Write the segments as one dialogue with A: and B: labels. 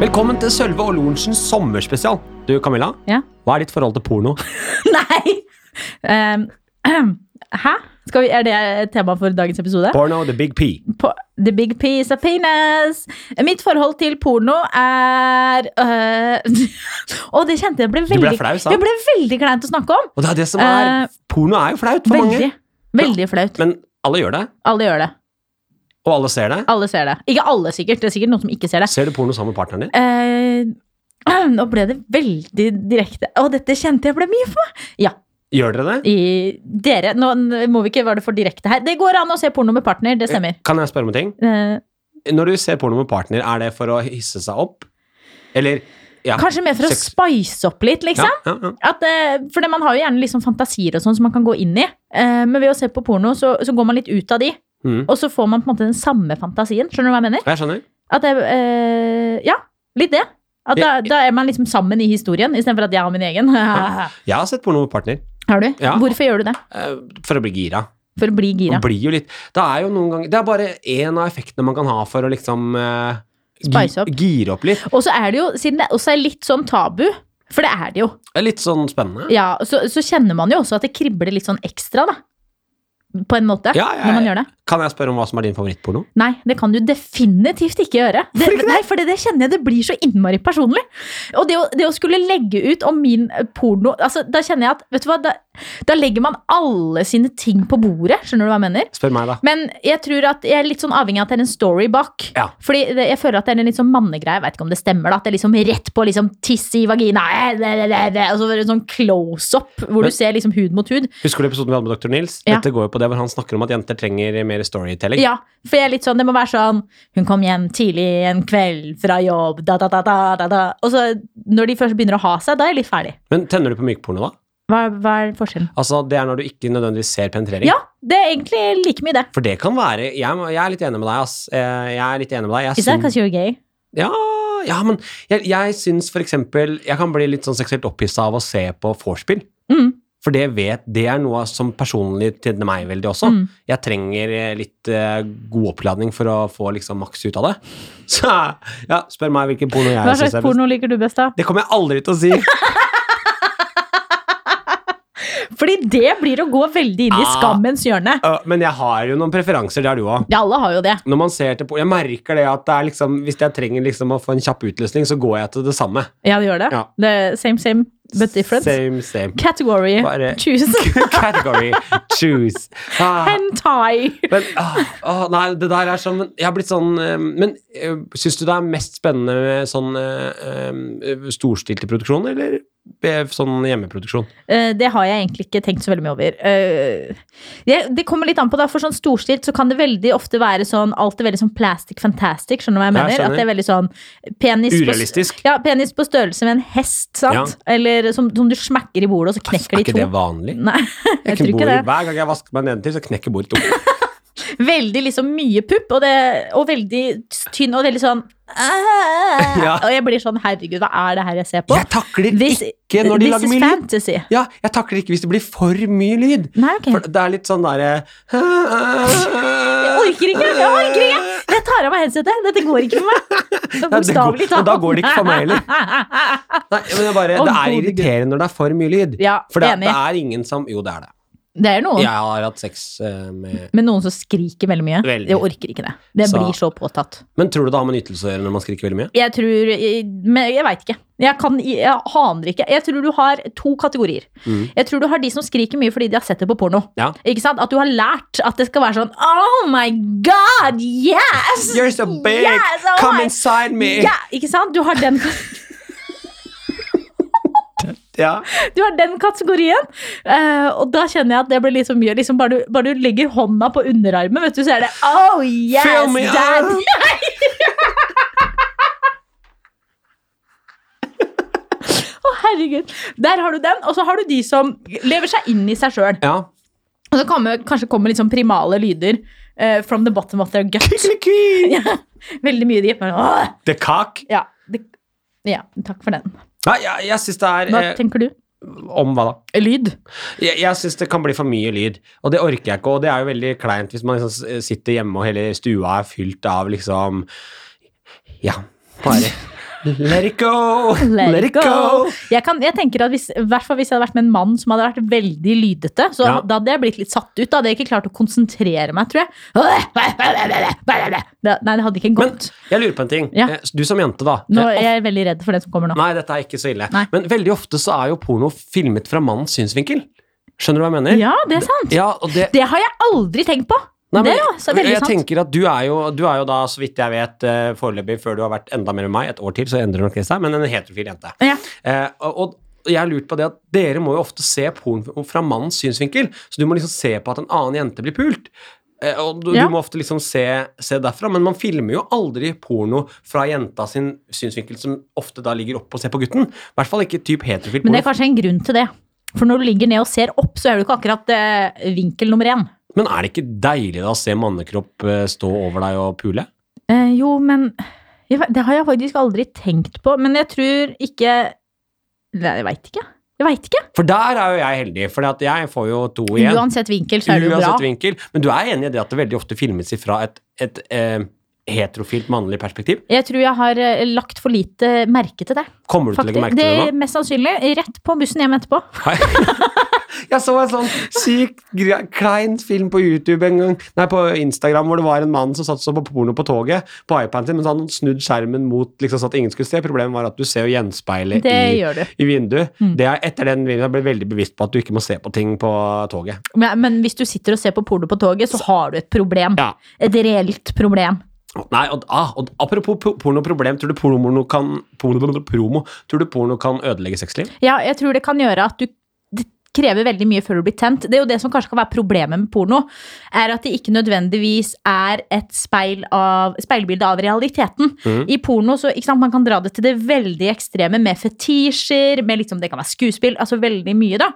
A: Velkommen til Sølve og Lorentzens sommerspesial. Du, Camilla,
B: Ja.
A: hva er ditt forhold til porno?
B: Nei! Ehm, hæ? Skal vi, er det tema for dagens episode?
A: Porno, the big P.
B: På- the big piece of penis. Mitt forhold til porno er øh, Å, det kjente jeg ble
A: Du ble
B: veldig
A: flau, sa
B: Det ble veldig kleint å snakke om.
A: Og det er det som er
B: Eh,
A: Porno er jo flaut for
B: Veldig.
A: mange.
B: Veldig flaut.
A: Men alle gjør det,
B: Alle gjør det.
A: og alle ser det.
B: Alle ser det. Ikke alle, sikkert. Det er sikkert noen som ikke ser det.
A: Ser du porno sammen med partneren din?
B: Eh, nå ble det veldig direkte. Å, dette kjente jeg ble mye for meg.
A: Gjør dere det?
B: I, dere, nå må vi ikke være det for direkte her. Det går an å se porno med partner,
A: Eh,
B: det stemmer.
A: Kan jeg spørre om en ting?
B: Eh,
A: Når du ser porno med partner, er det for å hisse seg opp? Eller ja.
B: Kanskje mer for å
A: Sex-
B: spice opp litt, liksom.
A: Ja, ja, ja.
B: At, eh, for det, man har jo gjerne liksom fantasier og sånn som man kan gå inn i. Eh, men ved å se på porno så, så går man litt ut av de,
A: Mm.
B: og så får man på en måte den samme fantasien. Skjønner du hva jeg mener?
A: Jeg skjønner.
B: At det, eh, ja, litt det. At da, da er man liksom sammen i historien, istedenfor at jeg har min egen. har
A: Jeg har sett porno med partner.
B: du?
A: Ja.
B: Hvorfor gjør du det?
A: eh, For å bli gira.
B: For å bli gira.
A: Man blir jo litt Det er jo noen ganger Det er bare én av effektene man kan ha for å liksom eh, gi-
B: Spice opp.
A: Gire opp litt.
B: Og så er det jo, siden det også er litt sånn tabu, for det er det jo,
A: Det er litt sånn spennende.
B: ja, så, så kjenner man jo også at det kribler litt sånn ekstra, da. På en måte,
A: Ja, ja,
B: når man
A: ja.
B: gjør det.
A: Kan jeg spørre om hva som er din favorittporno?
B: Nei, det kan du definitivt ikke gjøre. Det, nei, for det, det kjenner jeg det blir så innmari personlig. Og det å, det å skulle legge ut om min eh, porno altså, Da kjenner jeg at vet du hva, da, da legger man alle sine ting på bordet. Skjønner du hva jeg mener?
A: Spør meg, da.
B: Men jeg tror at jeg er litt sånn avhengig av at det er en story bak.
A: Ja.
B: Fordi det, jeg føler at det er en litt sånn mannegreie. Jeg vet ikke om det stemmer. da At det er liksom rett på liksom tiss i vagina. eh, det, det, det, det, Og så er det sånn close up hvor
A: Men-
B: du ser liksom hud mot hud.
A: Husker du episoden vi hadde med Dr. Nils?
B: Ja.
A: Dette går jo på det hvor han snakker om at jenter trenger mer storytelling.
B: Ja, for jeg er litt sånn, det må være sånn Hun kom hjem tidlig en kveld fra jobb da, da, da, da, da, da. Og så når de først begynner å ha seg, da er jeg litt ferdig
A: Men tenner du på mykporno, da?
B: Hva, hva er forskjellen?
A: Altså, Det er når du ikke nødvendigvis ser penetrering.
B: Ja, det er egentlig like mye det
A: For det kan være Jeg, må- jeg er litt enig med deg, ass. Eh, Jeg er litt enig med deg. Jeg
B: Is that
A: syns-
B: because you're gay?
A: ja, ja, men jeg, jeg syns for eksempel Jeg kan bli litt sånn seksuelt opphissa av å se på vorspiel.
B: Mm,
A: For det, vet, det er noe som personlig tjener meg veldig også.
B: mm.
A: Jeg trenger eh, litt eh, god oppladning for å få liksom maks ut av det. Så ja, spør meg hvilken porno jeg
B: Hva
A: synes
B: slags
A: er best.
B: porno liker du best da?
A: Det kommer jeg aldri til å si.
B: Fordi det blir å gå veldig inn i
A: Ah.
B: skammens hjørne
A: Øh, Men jeg har jo noen preferanser, det har du òg.
B: Ja, alle har jo det
A: Når man ser til por- Jeg merker det at det er liksom, hvis jeg trenger liksom å få en kjapp utløsning, så går jeg til det samme.
B: Ja, det gjør det
A: Ja.
B: Det er Same, same, but different
A: Same, same.
B: Category
A: Bare-
B: Choose
A: Category. Choose. Ah,
B: Hentai
A: men, ah, ah, nei, det der er sånn Jeg har blitt sånn eh, Men eh, syns du det er mest spennende med sånn eh, eh, storstilte produksjon, eller eh, sånn hjemmeproduksjon?
B: Eh, Det har jeg egentlig ikke tenkt så veldig mye over. Eh, jeg- Det kommer litt an på, da, for sånn storstilt så kan det veldig ofte være sånn Alt er veldig sånn plastic fantastic, skjønner du hva jeg
A: Ja,
B: mener?
A: jeg skjønner.
B: At det er veldig sånn penis på,
A: Urealistisk.
B: ja, penis på størrelse med en hest, sant? Eller som, som du smakker i bordet, og så knekker
A: Altså, er
B: de
A: ikke
B: to.
A: det vanlig?
B: Nei, jeg tror ikke
A: bordet,
B: det.
A: Hver gang jeg vasker meg nedentil, så knekker bordet to.
B: Veldig liksom mye pupp, og, det, og veldig tynn, og veldig sånn
A: Ja.
B: Og jeg blir sånn, herregud, hva er det her jeg ser på?
A: Jeg takler
B: This-
A: ikke når de
B: This
A: lager
B: is
A: mye lyd.
B: fantasy.
A: Ja, jeg takler ikke hvis det blir for mye lyd.
B: Nei, ok.
A: For det er litt sånn derre
B: Jeg
A: Jeg
B: orker ikke! Jeg orker ikke! Jeg tar av meg headsetet. Dette går ikke for meg.
A: men
B: Bokstavelig talt.
A: da går det ikke for meg heller. Nei, men det, er bare,
B: Å,
A: det er
B: gode Gud.
A: irriterende når det er for mye lyd.
B: Ja,
A: For det,
B: enig.
A: det er ingen som Jo, det er det.
B: Det er noen.
A: Jeg har hatt sex eh, med
B: Men noen som skriker veldig mye.
A: Veldig.
B: Jeg orker ikke det. Det
A: Så-
B: blir så påtatt.
A: Men tror du det har med en ytelse å gjøre når man skriker veldig mye?
B: Jeg tror Men jeg veit ikke. Jeg, kan, jeg aner ikke. Jeg tror du har to kategorier.
A: Mm.
B: Jeg tror du har de som skriker mye fordi de har sett det på porno.
A: Ja.
B: Ikke sant? At du har lært at det skal være sånn Oh my god, yes!
A: You're so big!
B: Yes, oh
A: Come
B: my-
A: inside me!
B: Ja, ikke sant? Du har den
A: Ja.
B: Du har den kategorien. Eh, og da kjenner jeg at det blir litt så mye. Liksom bare, du, bare du legger hånda på underarmen, vet du, så er det Oh yes,
A: Fill me
B: dad!
A: up!
B: Å, herregud. Der har du den. Og så har du de som lever seg inn i seg sjøl.
A: ja.
B: Og så kommer, kanskje kommer litt sånn primale lyder eh, from the bottom of their gut.
A: Kykelikui!
B: Ja, Veldig mye de men, åh!
A: The cock.
B: ja, det, ja, takk for den.
A: Nei, jeg, jeg syns det er
B: Hva
A: eh,
B: tenker du?
A: Om hva da?
B: Lyd.
A: Jeg, jeg syns det kan bli for mye lyd, og det orker jeg ikke. Og det er jo veldig kleint hvis man liksom s- sitter hjemme og hele stua er fylt av liksom Ja, bare Let it go!
B: Let, it go! Jeg, kan, jeg tenker at hvis, i hvert fall hvis jeg hadde vært med en mann som hadde vært veldig lydete, så
A: Ja.
B: da hadde jeg blitt litt satt ut. Da hadde jeg ikke klart å konsentrere meg, tror jeg. Det, nei, det hadde ikke
A: Men
B: gått.
A: jeg lurer på en ting.
B: Ja.
A: Eh, Du som jente, da.
B: Nå
A: Eh,
B: er jeg veldig redd for det som kommer nå.
A: Nei, dette er ikke så ille.
B: Nei.
A: Men veldig ofte så er jo porno filmet fra mannens synsvinkel. Skjønner du hva jeg mener?
B: Ja, det er sant.
A: Ja, og det,
B: Det har jeg aldri tenkt på.
A: Nei, men
B: det er jo så
A: jeg
B: veldig sant.
A: tenker at du er, jo, du er jo da, så vidt jeg vet, eh, foreløpig, før du har vært enda mer med meg, et år til, så endrer nok det seg, men en heterofil jente.
B: Ja.
A: Eh, og, og jeg har lurt på det at dere må jo ofte se porno fra mannens synsvinkel, så du må liksom se på at en annen jente blir pult. Eh, og du,
B: Ja.
A: du må ofte liksom se, se derfra, men man filmer jo aldri porno fra jenta sin synsvinkel, som ofte da ligger opp og ser på gutten. I hvert fall ikke typ heterofil
B: Men
A: porno.
B: det er kanskje en grunn til det. For når du ligger ned og ser opp, så er du ikke akkurat eh, vinkel nummer én.
A: Men er det ikke deilig da å se mannekropp eh, stå over deg og pule?
B: Eh, jo, men jeg, vet- Det har jeg faktisk aldri tenkt på. Men jeg tror ikke Nei, jeg veit ikke. Jeg veit ikke.
A: For der er jo jeg heldig, for jeg får jo to igjen.
B: Uansett vinkel så er det jo bra.
A: Uansett vinkel. Men du er enig i det at det veldig ofte filmes fra et, et eh, heterofilt mannlig perspektiv?
B: Jeg tror jeg har eh, lagt for lite merke til det.
A: Kommer du til å legge merke
B: Faktisk. Det
A: til det
B: er
A: nå?
B: mest sannsynlig rett på bussen hjem etterpå.
A: Jeg så en sånn sykt gre- klein film på YouTube en gang, nei, på Instagram, hvor det var en mann som satt så på porno på toget, på iPaden sin, mens han snudd skjermen mot liksom, så at ingen skulle se. Problemet var at du ser jo gjenspeilet
B: Det
A: i,
B: gjør du.
A: i vinduet.
B: Mm.
A: Det er, etter den videoen jeg ble jeg veldig bevisst på at du ikke må se på ting på toget.
B: Men, men hvis du sitter og ser på porno på toget, så har du et problem.
A: Ja.
B: Et reelt problem.
A: Nei, og, ah, og apropos po- pornoproblem, tror du porno kan, porno, promo, tror du porno kan ødelegge sexliv?
B: Ja, jeg tror det kan gjøre at du det krever veldig mye før du blir tent. Det er jo det som kanskje kan være problemet med porno, er at det ikke nødvendigvis er et speil av, speilbilde av realiteten.
A: Mhm.
B: I porno så, ikke sant, man kan dra det til det veldig ekstreme med fetisjer, med liksom, det kan være skuespill, altså veldig mye da.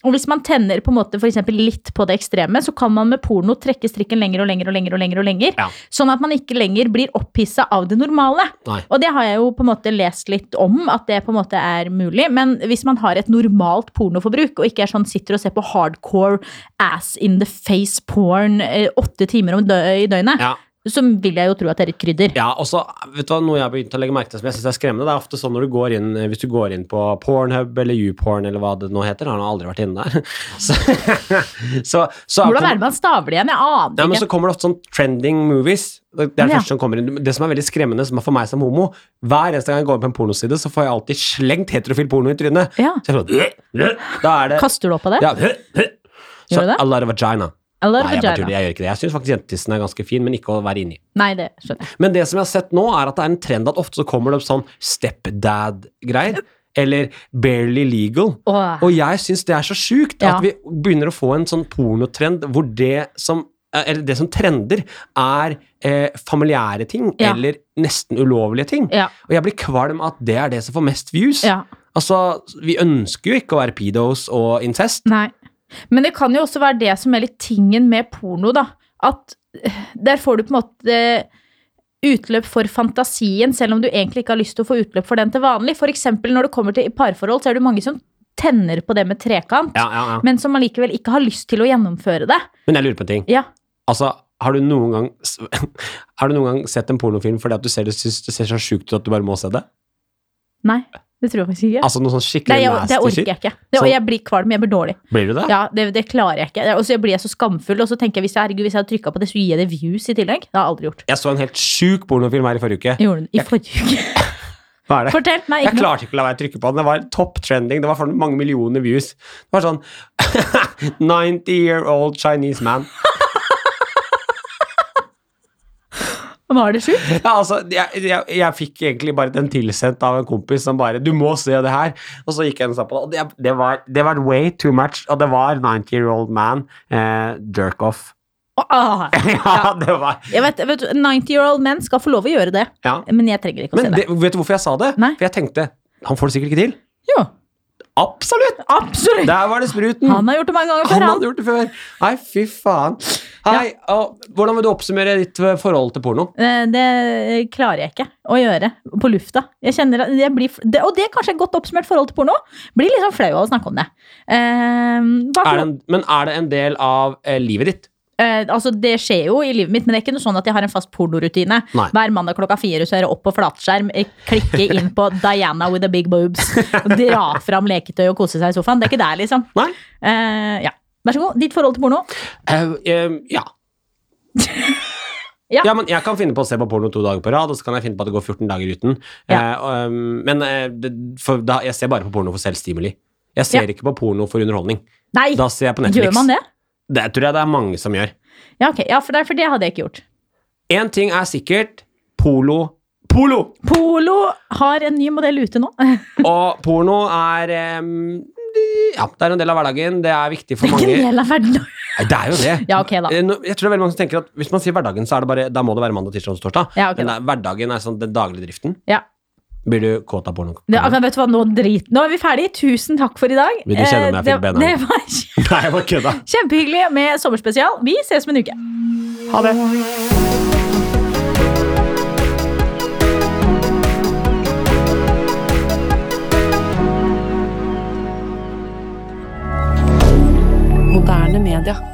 B: Og hvis man tenner på en måte for eksempel litt på det ekstreme, så kan man med porno trekke strikken lenger og lenger og lenger og lenger, og lenger
A: Ja.
B: sånn at man ikke lenger blir opphissa av det normale.
A: Nei.
B: Og det har jeg jo på en måte lest litt om, at det på en måte er mulig. Men hvis man har et normalt pornoforbruk, og ikke er sånn sitter og ser på hardcore ass in the face porn eh, åtte timer om dø i døgnet,
A: Ja.
B: så vil jeg jo tro at det er et krydder.
A: Ja, og så, vet du hva, Noe jeg har begynt å legge merke til som jeg synes er skremmende, det er ofte sånn når du går inn, hvis du går inn på Pornhub eller YouPorn eller hva det nå heter, har nå aldri vært inne der, så, så, så,
B: Hvordan er det man staver det igjen? Jeg
A: ja,
B: aner
A: men
B: ikke.
A: så kommer det ofte sånn trending movies. Det er det
B: Ja.
A: første som kommer inn. Det som er veldig skremmende som er for meg som homo, hver eneste gang jeg går inn på en pornoside, så får jeg alltid slengt heterofil porno i trynet.
B: Ja.
A: Så jeg sånn, da er det
B: Kaster du opp av det?
A: ja, så,
B: Gjør du det?
A: A lot of vagina.
B: Eller
A: Nei, jeg, bare
B: vagina?
A: tuller, jeg gjør ikke det. Jeg syns faktisk jentetissen er ganske fin, men ikke å være inni.
B: Nei, det skjønner jeg.
A: Men det som jeg har sett nå, er at det er en trend at ofte så kommer det opp sånn stepdad-greier. Eller barely legal.
B: Åh.
A: Og jeg syns det er så sjukt
B: Ja.
A: at vi begynner å få en sånn pornotrend hvor det som eh, eller det som trender, er eh, familiære ting
B: Ja.
A: eller nesten ulovlige ting.
B: Ja.
A: Og jeg blir kvalm av at det er det som får mest views.
B: ja.
A: Altså, Vi ønsker jo ikke å være pedos og incest.
B: Nei. Men det kan jo også være det som er litt tingen med porno, da. At eh, der får du på en måte eh, utløp for fantasien, selv om du egentlig ikke har lyst til å få utløp for den til vanlig. For eksempel når det kommer til parforhold, så er det mange som tenner på det med trekant,
A: Ja, ja, ja.
B: men som allikevel ikke har lyst til å gjennomføre det.
A: Men jeg lurer på en ting.
B: Ja.
A: Altså, har du noen gang Har du noen gang sett en pornofilm fordi at du ser det, synes det ser så sjukt ut at du bare må se det?
B: Nei, det tror jeg faktisk ikke.
A: Altså noe sånn
B: Nei,
A: skikkelig
B: jeg, det
A: nasty
B: orker
A: shit?
B: jeg ikke. Det, og
A: Så-
B: jeg blir kvalm, jeg blir dårlig.
A: Blir du det?
B: Ja, det, det klarer jeg ikke. Og så blir jeg så skamfull, og så tenker jeg hvis jeg, herregud, hvis jeg hadde trykka på det, så gir jeg det views i tillegg. Det har jeg aldri gjort.
A: Jeg så en helt sjuk pornofilm her i forrige uke.
B: Jeg gjorde den i forrige uke.
A: Hva er det?
B: Fortell meg.
A: Jeg
B: Ikke noe.
A: klarte ikke å la være å trykke på den. Det var topp trending. Det var for mange millioner views. Det var sånn 90 year old Chinese man.
B: Var det sjukt?
A: Ja, altså, jeg, jeg, jeg fikk egentlig bare den tilsendt av en kompis som bare 'Du må se det her.' Og så gikk jeg inn og så på det, og det, det, var, det var way too much. Og det var 90 year old man eh, jerk off.
B: Åh,
A: ja, det var
B: ah, Jeg vet, vet du, 90 year old menn skal få lov å gjøre det,
A: ja.
B: men jeg trenger ikke å
A: Men
B: se det.
A: det, vet du hvorfor jeg sa det?
B: Nei.
A: For jeg tenkte Han får det sikkert ikke til.
B: Jo,
A: Absolutt!
B: absolutt!
A: Der var det spruten!
B: Han har gjort det mange ganger
A: Han
B: før, han.
A: hadde gjort det før. Nei, fy faen. Hei, og, hvordan vil du oppsummere ditt eh, forhold til porno?
B: Eh, Det klarer jeg ikke å gjøre på lufta. Jeg kjenner at jeg blir, det, Og det er kanskje et godt oppsummert forhold til porno. Blir liksom flau av å snakke om det. Eh, hva for-
A: Er det en, men er det en del av eh, livet ditt?
B: eh, altså, det skjer jo i livet mitt, men det er ikke noe sånn at jeg har en fast pornorutine.
A: Nei.
B: Hver mandag klokka fire så er det opp på flatskjerm, eh, klikke inn på Diana with the big boobs, dra fram leketøy og kose seg i sofaen. Det er ikke der, liksom.
A: Nei?
B: Eh, ja. Vær så god. Ditt forhold til porno?
A: Eh, eh, ja.
B: Ja.
A: men jeg kan finne på å se på porno to dager på rad, og så kan jeg finne på at det går 14 dager uten.
B: Ja.
A: Eh, og, um, men eh, det, for da, jeg ser bare på porno for selvstimuli. Jeg ser
B: Ja.
A: ikke på porno for underholdning.
B: Nei,
A: Da ser jeg på Netflix.
B: gjør man det?
A: Det tror jeg det er mange som gjør.
B: Ja, ok. ja for, det, for det hadde jeg ikke gjort.
A: Én ting er sikkert. Polo. Polo!
B: Polo har en ny modell ute nå.
A: Og porno er em, ja, det er en del av hverdagen. Det er viktig for
B: Ikke
A: mange.
B: en del av verden.
A: Nei, det er jo det.
B: Ja, ok da.
A: Eh, nå- Jeg tror det er veldig mange som tenker at Hvis man sier hverdagen, så er det bare, da må det være mandag, tirsdag og torsdag.
B: Ja, ok
A: Men
B: da.
A: det er, hverdagen er sånn den daglige driften.
B: Ja.
A: Blir du kåt av porno?
B: Det, men vet du hva, nå, drit. nå er vi ferdige. Tusen takk for i dag.
A: Vil du kjenne om jeg
B: Eh,
A: fikk
B: det-
A: bena?
B: Det var kj-
A: Nei, jeg bare kødda.
B: kjempehyggelig med sommerspesial. Vi ses om en uke.
A: Ha det.
C: Moderne media.